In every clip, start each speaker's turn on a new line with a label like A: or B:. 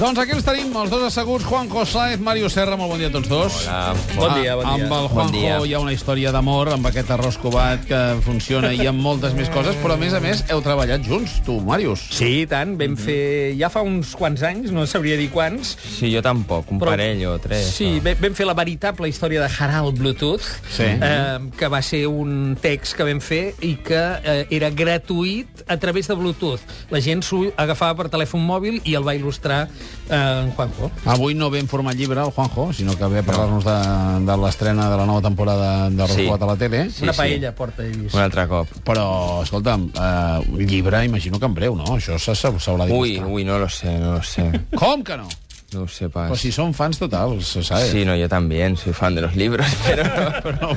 A: Doncs aquí els tenim, els dos asseguts, Juanjo Saez, Mario Serra, molt bon dia a tots dos.
B: Ah, bon dia, bon dia.
A: Amb el Juanjo
B: dia.
A: hi ha una història d'amor, amb aquest arròs covat que funciona i amb moltes més coses, però a més a més heu treballat junts, tu, Màrius.
C: Sí, i tant, vam
B: Mhm.
C: fer... Ja fa uns quants anys, no sabria dir quants,
B: Sí, jo tampoc, un
C: Però-
B: parell o tres.
C: Sí,
B: no.
C: vam, vam fer la veritable història de Harald Bluetooth,
A: Sí.
C: eh, que va ser un text que vam fer i que eh, era gratuït a través de Bluetooth. La gent s'ho agafava per telèfon mòbil i el va il·lustrar eh, en Juanjo.
A: Avui no ve en format llibre el Juanjo, sinó que ve a parlar-nos de, de l'estrena de la nova temporada de Arròs
B: Sí.
A: Covat a la tele.
B: Sí,
C: Una
B: sí.
C: paella porta, he vist.
B: Un altre cop.
A: Però, escolta'm, eh, un llibre imagino que en breu, no? Això se- se- s'haurà de
B: Ui, ui, no lo sé, no lo sé.
A: Com que no?
B: No ho sé
A: Però
B: pas.
A: si són fans totals, saps?
B: Sí, no, yo también soy fan de los libros, pero, pero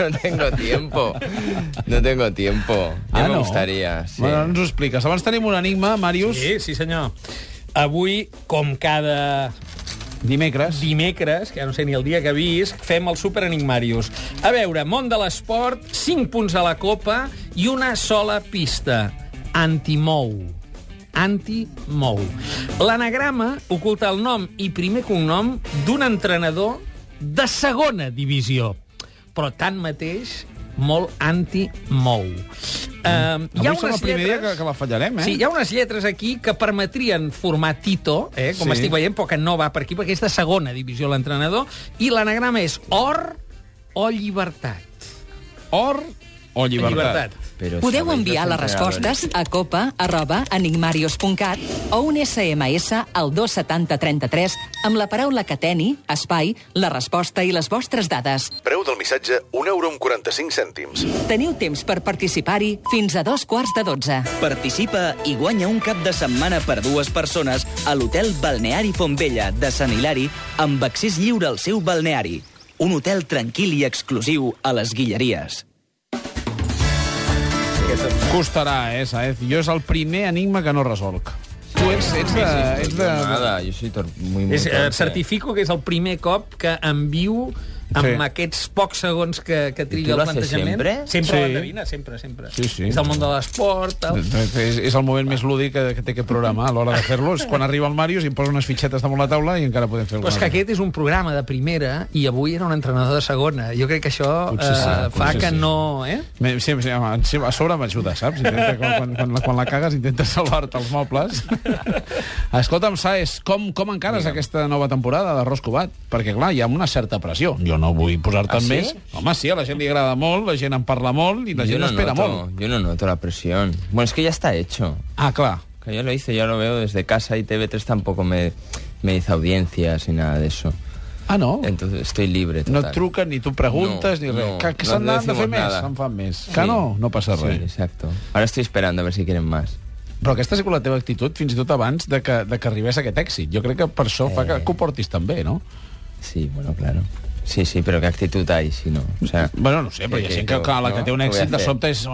B: no tengo tiempo. No tengo tiempo. Ya me gustaría. Sí.
A: Bueno, ara ens ho expliques. Abans tenim un enigma, Màrius, sí.
C: Sí, sí, senyor. Avui, com cada
A: dimecres.
C: dimecres, que ja no sé ni el dia que visc, fem el Super Enigmarius. A veure, món de l'esport, 5 punts a la copa i una sola pista. Antimou. Antimou. L'anagrama oculta el nom i primer cognom d'un entrenador de segona divisió, però tanmateix molt anti-mou. Um,
A: Mm. Avui serà el primer dia que, que la fallarem, eh?
C: Sí, hi ha unes lletres aquí que permetrien formar Tito, eh, com
A: Sí.
C: sí. estic veient, però que no va per aquí, perquè és de segona divisió l'entrenador, i l'anagrama és or o llibertat.
A: Or o llibertat.
B: Pero
D: Podeu
B: ¿sabéis
D: enviar
B: los
D: les
B: entrenadores?
D: respostes a copa arroba enigmarios.cat o un SMS al 27033 amb la paraula que teni, espai, la resposta i les vostres dades.
E: Preu del missatge, 1 euro amb 45 cèntims.
D: Teniu temps per participar-hi fins a dos quarts de dotze.
F: Participa i guanya un cap de setmana per dues persones a l'hotel Balneari Fontvella de Sant Hilari amb accés lliure al seu balneari. Un hotel tranquil i exclusiu a les Guilleries.
A: Costarà, eh, Saez? Jo és el primer enigma que no resolc. Tu ets, ets de... Ets de...
B: Nada, yo soy tor- muy, muy
C: És, eh,
B: torpe.
C: certifico que és el primer cop que envio amb
A: Sí.
C: sí. aquests pocs segons que, que
B: I tu
C: triga el
B: l'has fet
C: plantejament.
B: sempre?
C: Sempre
A: Sí.
C: sí. l'endevina, sempre, sempre.
A: Sí, sí.
C: És del món de l'esport, tal.
A: És, és el moment més lúdic que, que té aquest programa a l'hora de fer-lo. És quan arriba el Màrius i em posa unes fitxetes damunt la taula i encara podem fer
C: Però
A: alguna
C: és que
A: cosa.
C: aquest és un programa de primera i avui era un entrenador de segona. Jo crec que això
A: Potser
C: eh,
A: sí,
C: fa
A: potser
C: que
A: sí.
C: no... Eh?
A: Me- Sí, sí, home, sí, a sobre m'ajuda, saps? Intenta, quan, quan, quan, la, quan la cagues intentes salvar-te els mobles. Escolta'm, Saez, com, com encares Digue'm. aquesta nova temporada d'Arròs Covat? Perquè, clar, hi ha una certa pressió. Jo no vull posar-te
B: Ah,
A: en
B: sí?
A: més. Home, sí, a la gent li agrada molt, la gent en parla molt i la
B: Yo
A: gent
B: no
A: espera
B: noto,
A: molt.
B: Yo no noto la presión. Bueno, es que ya está hecho.
A: Ah, clar.
B: Que yo lo hice, ya lo veo desde casa y TV3 tampoco me, me hizo audiencias ni nada de eso.
A: Ah, no?
B: Entonces estoy libre.
A: No
B: Total.
A: et truquen, ni tu preguntes,
B: Eh, No,
A: ni res.
B: no,
A: que que
B: no
A: s'han d'anar de
B: decimos
A: fer més,
B: nada.
A: se'n fan més.
B: Sí.
A: Que no, no passa
B: Sí,
A: res.
B: exacto. Ahora estoy esperando a ver si quieren más.
A: Però aquesta ha sigut la teva actitud fins i tot abans de que, de que arribés aquest èxit. Jo crec que per això fa
B: Eh.
A: que, que ho portis també, no?
B: Sí, bueno, claro. Sí, sí, pero qué actitud hay si no. O sea,
A: Bueno, no sé, però hi ha
B: Sí,
A: gent
B: sí,
A: que, que la
B: no?
A: que té un
B: Què voy a
A: èxit de
B: fer?
A: sobte és, eh,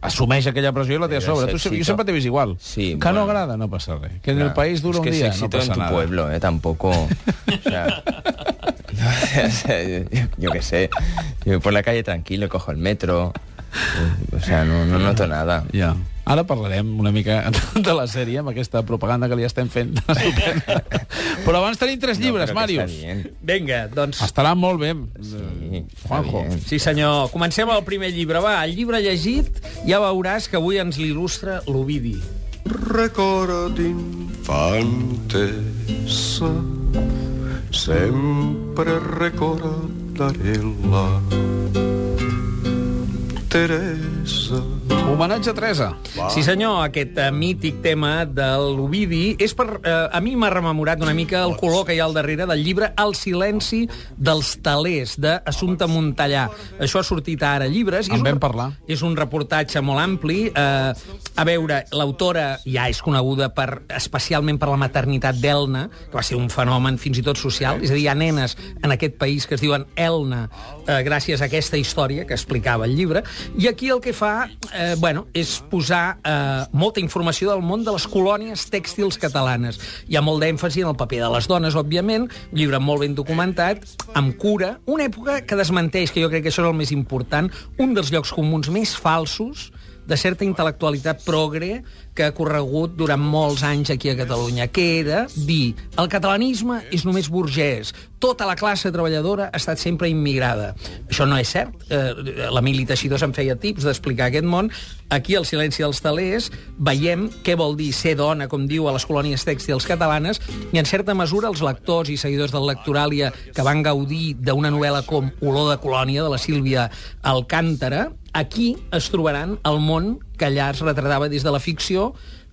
A: assumeix aquella pressió i la té a
B: Però
A: sobre.
B: és
A: Tu, se- jo
B: èxito.
A: sempre t'he vist igual.
B: Sí,
A: que
B: bueno.
A: no agrada, no passa res. Que en
B: claro,
A: el país dura
B: es que
A: un
B: es
A: dia, no
B: éxito
A: passa
B: en tu
A: nada.
B: pueblo, ¿eh? Tampoco. O sea, no, o sea, yo, yo qué sé. Yo voy por la calle tranquilo, cojo el metro. eh, O sea, no, no noto nada.
A: Ja. Ara parlarem una mica de la sèrie amb aquesta propaganda que li estem fent. Estupenda. Però abans tenim tres llibres,
B: No, pero que
A: Màrius.
B: está bien.
C: Vinga, doncs...
A: Estarà molt bé,
B: Sí, está
A: Juanjo.
B: bien.
C: Sí, senyor. Comencem amb el primer llibre. Va, el llibre llegit, ja veuràs que avui ens l'il·lustra l'Ovidi.
G: Record infantessa sempre recordaré la Teresa.
A: Homenatge a Teresa.
C: Sí, senyor, aquest eh, mític tema de l'Ovidi és per... Eh, a mi m'ha rememorat una mica el color que hi ha al darrere del llibre El silenci dels talers, d'Assumpta Montellà. Això ha sortit ara a llibres. i
A: En
C: és un-
A: vam parlar.
C: És un reportatge molt ampli. Eh, a veure, l'autora ja és coneguda per, especialment per la maternitat d'Elna, que va ser un fenomen fins i tot social. És a dir, hi ha nenes en aquest país que es diuen Elna eh, gràcies a aquesta història que explicava el llibre. I aquí el que fa eh, bueno, és posar eh, molta informació del món de les colònies tèxtils catalanes. Hi ha molt d'èmfasi en el paper de les dones, òbviament, un llibre molt ben documentat, amb cura, una època que desmenteix, que jo crec que això és el més important, un dels llocs comuns més falsos de certa intel·lectualitat progre que ha corregut durant molts anys aquí a Catalunya, que era dir el catalanisme és només burgès, tota la classe treballadora ha estat sempre immigrada. Això no és cert. Eh, L'Emili Teixidor se'n feia tips d'explicar aquest món. Aquí, al silenci dels talers, veiem què vol dir ser dona, com diu a les colònies tèxtils catalanes, i en certa mesura els lectors i seguidors del Lectoràlia que van gaudir d'una novel·la com Olor de Colònia, de la Sílvia Alcàntara, aquí es trobaran el món que allà es retratava des de la ficció,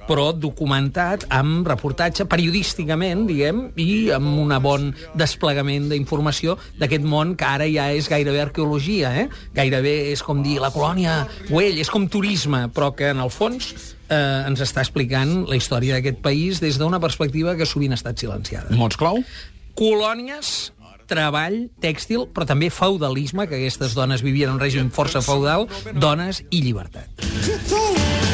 C: però documentat amb reportatge periodísticament, diguem, i amb un bon desplegament d'informació d'aquest món que ara ja és gairebé arqueologia, eh? Gairebé és com dir la colònia Güell, és com turisme, però que en el fons eh, ens està explicant la història d'aquest país des d'una perspectiva que sovint ha estat silenciada
A: Mots clau?
C: colònies treball, tèxtil, però també feudalisme, que aquestes dones vivien en un règim força feudal, dones i llibertat.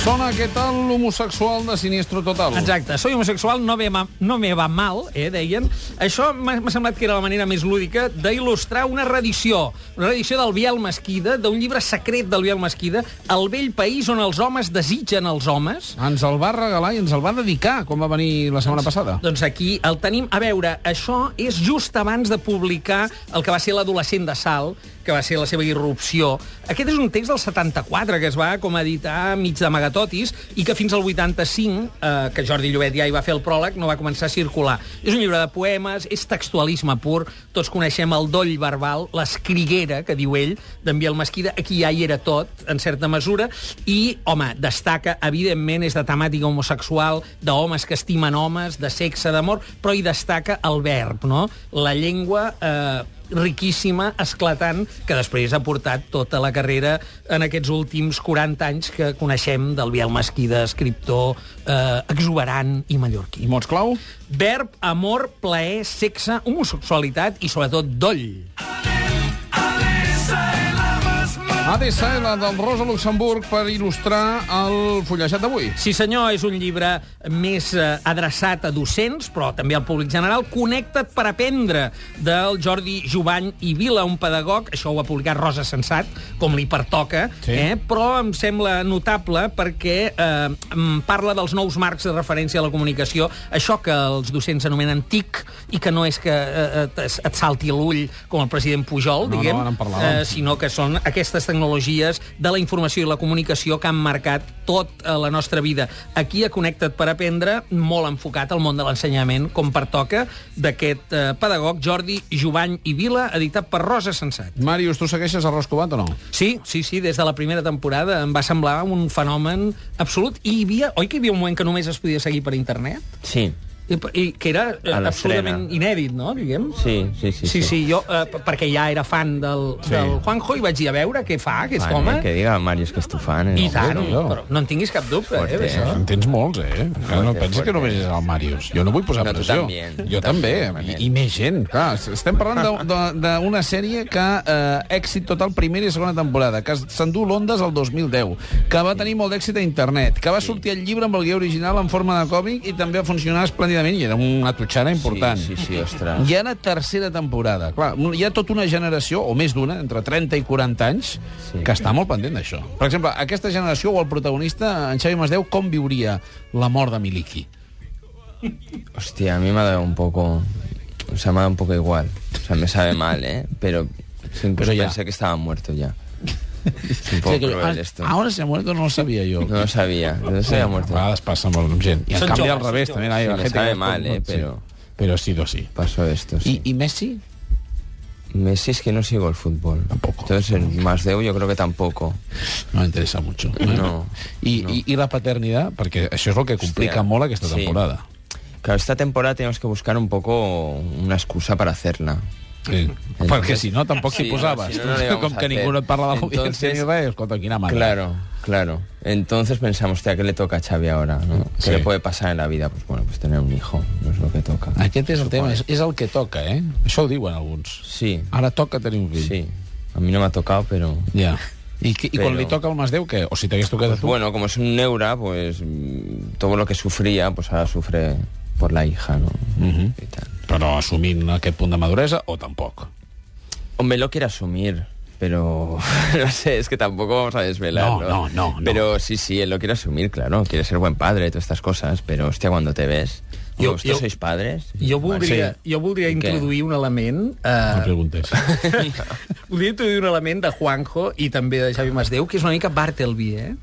A: Sona què tal l'homosexual de Sinistro Total?
C: Exacte, soy homosexual, no me, ma- no me va mal, eh, deien. Això m'ha m'ha semblat que era la manera més lúdica d'il·lustrar una redició, una redició del Biel Mesquida, d'un llibre secret del Biel Mesquida, El vell país on els homes desitgen els homes,
A: Ens el va regalar i ens el va dedicar quan va venir la setmana passada.
C: Doncs aquí el tenim. A veure, això és just abans de publicar el que va ser l'adolescent de Sal, que va ser la seva irrupció. Aquest és un text del 74, que es va com a editar mig de magatotis, i que fins al 85, eh, que Jordi Llobet ja hi va fer el pròleg, no va començar a circular. És un llibre de poemes, és textualisme pur, tots coneixem el doll verbal, l'escriguera, que diu ell, d'en Biel Mesquida, aquí ja hi era tot, en certa mesura, i, home, destaca, evidentment, és de temàtica homosexual, d'homes que estimen homes, de sexe, d'amor, però hi destaca el verb, no? La llengua eh, riquíssima, esclatant, que després ha portat tota la carrera en aquests últims 40 anys que coneixem del Biel Mesquida, escriptor eh, exuberant i mallorquí.
A: I mots clau?
C: Verb, amor, plaer, sexe, homosexualitat i, sobretot, doll.
A: ADSL del Rosa Luxemburg per il·lustrar el fullejat d'avui.
C: Sí senyor, és un llibre més eh, adreçat a docents, però també al públic general. Connecta't per aprendre, del Jordi Jovany i Vila, un pedagog. Això ho ha publicat Rosa Sensat, com li pertoca.
A: Sí.
C: Eh? Però em sembla notable perquè eh, em parla dels nous marcs de referència a la comunicació. Això que els docents anomenen TIC i que no és que eh, et, et salti l'ull com el president Pujol,
A: No, no,
C: diguem,
A: ara en parlàvem.
C: eh, sinó que són aquestes tecnologies de la informació i la comunicació que han marcat tota la nostra vida. Aquí a Connecta't per Aprendre, molt enfocat al món de l'ensenyament, com pertoca, d'aquest eh, pedagog Jordi Jovany i Vila, editat per Rosa Sensat.
A: Màrius, tu segueixes a Roscovat o no?
C: Sí, sí, sí, des de la primera temporada em va semblar un fenomen absolut. I hi havia, oi que hi havia un moment que només es podia seguir per internet?
B: Sí,
C: I, i que era eh,
B: A l'estrena.
C: absolutament inèdit, no, diguem?
B: sí, sí. Sí,
C: Sí, sí, jo, eh, p- perquè ja era fan del, sí. del Juanjo i vaig dir a veure què fa aquest
B: Fan,
C: home.
B: eh, Que diga Marius que és tu fan. eh?
C: I tant,
A: no, no.
C: però no en tinguis cap dubte,
B: Fuerte,
C: eh, d'això.
A: En tens molts, eh? Encara no
B: Fuerte,
A: pensis que
B: Ah, fuerte.
A: només és el Màrius. Jo no vull posar
B: No, tu
A: pressió.
B: també.
A: Jo
B: Tu
A: també.
B: també.
A: I, I més gent. Clar, es- estem parlant de- de- d'una sèrie que eh, èxit total primera i segona temporada, que es- s'endú l'Ondes el 2010, que va tenir molt d'èxit a internet, que va sortir el llibre amb el guia original en forma de còmic i també va funcionar esplèndidament i era una totxana important.
B: Sí, sí, sí, ostres.
A: Hi ha una tercera temporada. Clar, hi ha tota una generació, o més d'una, entre 30 i 40 anys, sí. que està molt pendent d'això. Per exemple, aquesta generació o el protagonista, en Xavi Masdeu, com viuria la mort de Miliki?
B: Hostia, a mí me ha dado un poco... O sea, me ha dado un poco igual. O sea, me sabe mal, ¿eh? Pero siempre
A: Pero ya.
B: pensé que estaba muerto ya. Es un poco
A: Sí, que-
B: cruel esto.
A: ah, ahora Ah. se ha muerto, no lo sabia jo.
B: No lo sabía. No se había muerto.
A: A vegades passa amb gent. I en
C: Són
A: canvi al
C: joves,
A: revés,
C: són
A: també. Ai, la
B: Sí, me
A: gent
B: sabe
A: que-
B: mal, eh,
A: sí.
B: pero-
A: Però sí, do sí.
B: Pasó esto,
A: I,
B: sí.
A: I Messi?
B: Messi es que no sigo el fútbol.
A: Tampoco.
B: Entonces, el Masdeu yo creo que tampoco.
A: No interessa mucho.
B: No,
A: I, I, I la paternitat? Perquè això és el que complica
B: Hòstia,
A: molt aquesta
B: sí.
A: temporada.
B: Claro, esta temporada tenemos que buscar un poco una excusa para hacerla.
A: Sí. Perquè si no, tampoc s'hi
B: Sí,
A: posaves.
B: si no, no la íbamos
A: Com
B: a
A: que
B: hacer.
A: ningú no et parla de l'audiència
B: Entonces-
A: ni res, escolta, quina mare.
B: Claro, claro. Entonces pensamos, hostia, ¿qué le toca a Xavi ahora? no? ¿Qué
A: Sí.
B: le puede pasar en la vida? Pues bueno, pues tener un hijo, no es lo que toca.
A: Aquest és el tema, és, és el que toca, eh? Això ho diuen alguns.
B: Sí,
A: Ara toca tenir un fill.
B: sí. A mí no me ha tocado, pero...
A: Ja. I, qui- i quan
B: Però-
A: li toca el Masdeu, què? O si t'hagués tocat a tu?
B: Bueno, como es un neura, pues mm, todo lo que sufría, pues ahora sufre por la hija, ¿no? Y tal.
A: Però assumint aquest punt de maduresa, o tampoc.
B: Hombre, lo quiere asumir. Pero no sé, es que tampoco vamos a desvelar.
A: No, no, no, no.
B: Pero sí, sí, él lo quiere asumir, claro. Quiere ser buen padre, todas estas cosas. Pero hostia, cuando te ves.
C: Yo-
B: ¿Vosotros
C: yo-
B: sois padres?
C: Jo voldria,
B: Sí.
C: sí. jo voldria
B: I què?
C: introduir un element... Eh,
B: Ah.
A: No preguntes.
C: Voldria introduir un element de Juanjo i també de Xavi Masdeu, que és una mica Bartleby, eh?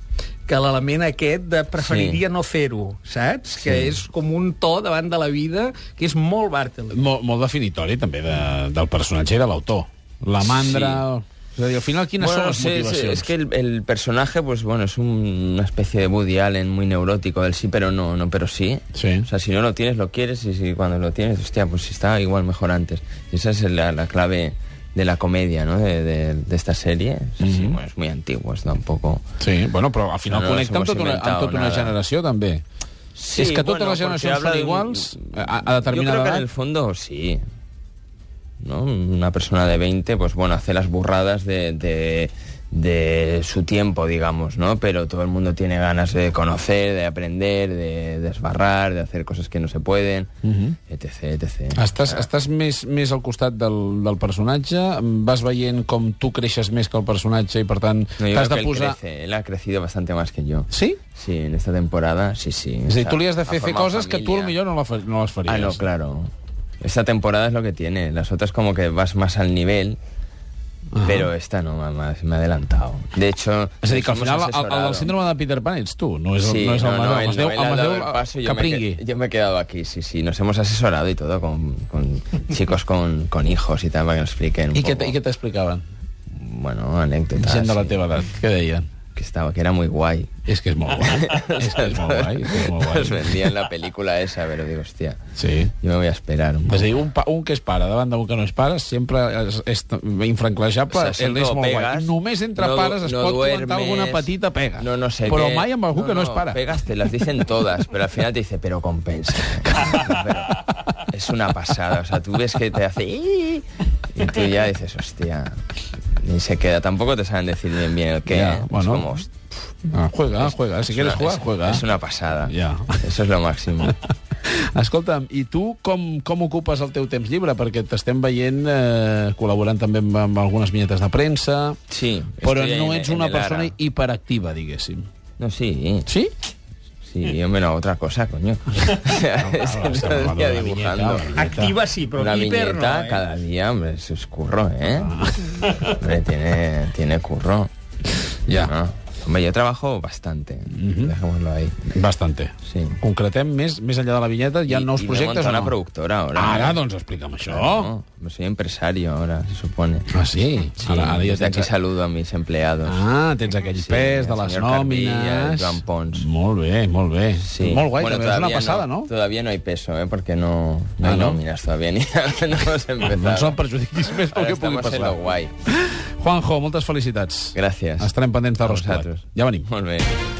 C: que l'element aquest de preferiria sí. no fer-ho, saps? Sí. Que és com un to davant de la vida que és molt Bartleby.
A: Mol, molt definitori, també, de, del personatge i de l'autor. La mandra... Sí. És a dir, al final, quines
B: Bueno,
A: són
B: no
A: les
B: sé, es,
A: motivacions?
B: es que el, el personaje, pues bueno, es un- una especie de Woody Allen muy neurótico, él sí, pero no, no, pero sí.
A: Sí.
B: O sea, si no lo tienes, lo quieres, y si cuando lo tienes, hostia, pues está igual mejor antes. Y esa es la, la clave de la comedia, ¿no? De, de- de esta serie. O sea, sí,
A: Ujú.
B: bueno, es muy antiguo, está un poco...
A: Sí, bueno, però al final
B: No,
A: no,
B: no
A: connecta amb
B: s'ho
A: tota una, amb
B: inventado,
A: tota una
B: nada.
A: generació, també.
B: Sí,
A: és que totes
B: bueno,
A: les
B: porque
A: generacions
B: habla
A: són
B: de un-
A: iguals eh, a, a determinada
B: Yo creo que en el
A: edat.
B: fondo sí. ¿No? Una persona de 20, pues bueno, hace las burradas de, de- de su tiempo, digamos, ¿no? Pero todo el mundo tiene ganas de conocer, de aprender, de desbarrar, de hacer cosas que no se pueden,
A: Ujú.
B: etc, etc.
A: Estàs, estàs més, més al costat del, del personatge? Vas veient com tu creixes més que el personatge i, per tant,
B: No, yo
A: t'has
B: creo
A: de
B: que él
A: posar...
B: crece, él ha crecido bastante más que yo.
A: Sí?
B: Sí, en esta temporada, sí,
A: És
B: sí.
A: a dir,
B: O sea,
A: tu li has de
B: ha
A: fer fer
B: formado
A: coses que tu
B: familia.
A: millor no, la, fa- no les faries.
B: Ah, no, claro. Esta temporada es lo que tiene. Las otras como que vas más al nivel, pero esta no, mamá, me ha adelantado. De hecho...
A: És a dir, que al
B: nos
A: final el,
B: hemos
A: el, el
B: asesorado.
A: del síndrome de Peter Pan ets tu, no és el,
B: Sí,
A: no és el Masdeu.
B: el
A: Masdeu-
B: Noel ha
A: el
B: dado
A: Masdeu,
B: el paso y
A: que
B: yo, me he
A: pringui.
B: qued- yo me he quedado aquí, sí, sí. Nos hemos asesorado y todo con, con chicos con, con hijos y tal, para que nos expliquen un
A: I què,
B: poco.
A: i què t'explicaven?
B: Bueno, anécdotas.
A: Gent de la
B: Ah, sí.
A: teva edat, què deien?
B: Que, estaba, que era muy guay.
A: És que és molt guai. és que és molt guai. És que és molt
B: Nos
A: guai.
B: vendían la película esa, pero digo, hostia,
A: Sí.
B: yo me voy a esperar un
A: És
B: poco.
A: a dir, un, pa, un que és pare davant d'un que no és pare sempre és, és infranclejable,
B: O
A: o
B: sigui,
A: sigui, és
B: sempre
A: molt guai.
B: pegues,
A: Només entre
B: no du-
A: pares es
B: no
A: pot
B: duermes,
A: comentar alguna petita pega.
B: No, no sé
A: Però
B: qué.
A: mai amb algú que no és pare.
B: Pegas te las dicen todas, pero al final te dice, pero compensa. Pero es una pasada. O sea, tú ves que te hace... "Ii", Y tú ya dices, hostia... Y se queda. Tampoco te saben decir bien bien el qué.
A: Ya,
B: Es
A: bueno.
B: como, "Host,
A: Ah, juega, juega. Si
B: es
A: quieres
B: una-
A: jugar,
B: es-
A: juega.
B: Es una pasada.
A: Ya.
B: Eso es lo máximo.
A: Escolta'm, i tu com, com ocupes el teu temps llibre? Perquè t'estem veient eh, col·laborant també amb, amb algunes vinyetes de premsa,
B: Sí.
A: però
B: estoy
A: no
B: en-
A: ets
B: en
A: una
B: el ara.
A: persona hiperactiva, diguéssim.
B: No, sí.
A: Sí?
B: Sí, yo menos otra cosa, coño. O sea, es que
A: estamos
B: todo el
A: hablando
B: día
A: de la viñeta,
B: dibujando.
A: la viñeta.
C: Activa sí, però
B: Una
C: hiper no.
B: viñeta
C: eh?
B: cada día, hombre, eso es curro, ¿eh? Hombre, tiene, tiene curro.
A: Ya.
B: No. Hombre, yo trabajo bastante, dejémoslo ahí.
A: Bastante.
B: Sí.
A: Concretem més, més enllà de la vinyeta, hi ha
B: Y-
A: nous
B: y me he
A: projectes
B: montado
A: o no?
B: una productora ahora.
A: Ara, doncs, explica'm això.
B: No, me soy empresario ahora, se supone.
A: Ah, sí?
B: Sí,
A: Ara, ara ja
B: desde aquí
A: tens...
B: saludo a mis empleados.
A: Ah, tens aquell
B: Sí,
A: pes de
B: el
A: les
B: senyor
A: nòmines...
B: Carbí i el Joan Pons.
A: Molt bé, molt bé.
B: Sí.
A: Molt guai,
B: Bueno,
A: també. És una
B: todavía
A: passada, no?
B: Todavía no hay peso, ¿eh? Porque no, no
A: Ah,
B: hay
A: ¿no?
B: nóminas todavía, ni no hemos empezado.
A: No són perjudicis més pel que
B: Ahora
A: pugui
B: estamos
A: passar.
B: en lo guay.
A: Juanjo, moltes felicitats.
B: Gràcies.
A: Estarem pendents de
B: A
A: Roscoe.
B: vosaltres.
A: Ja venim.
B: Molt bé.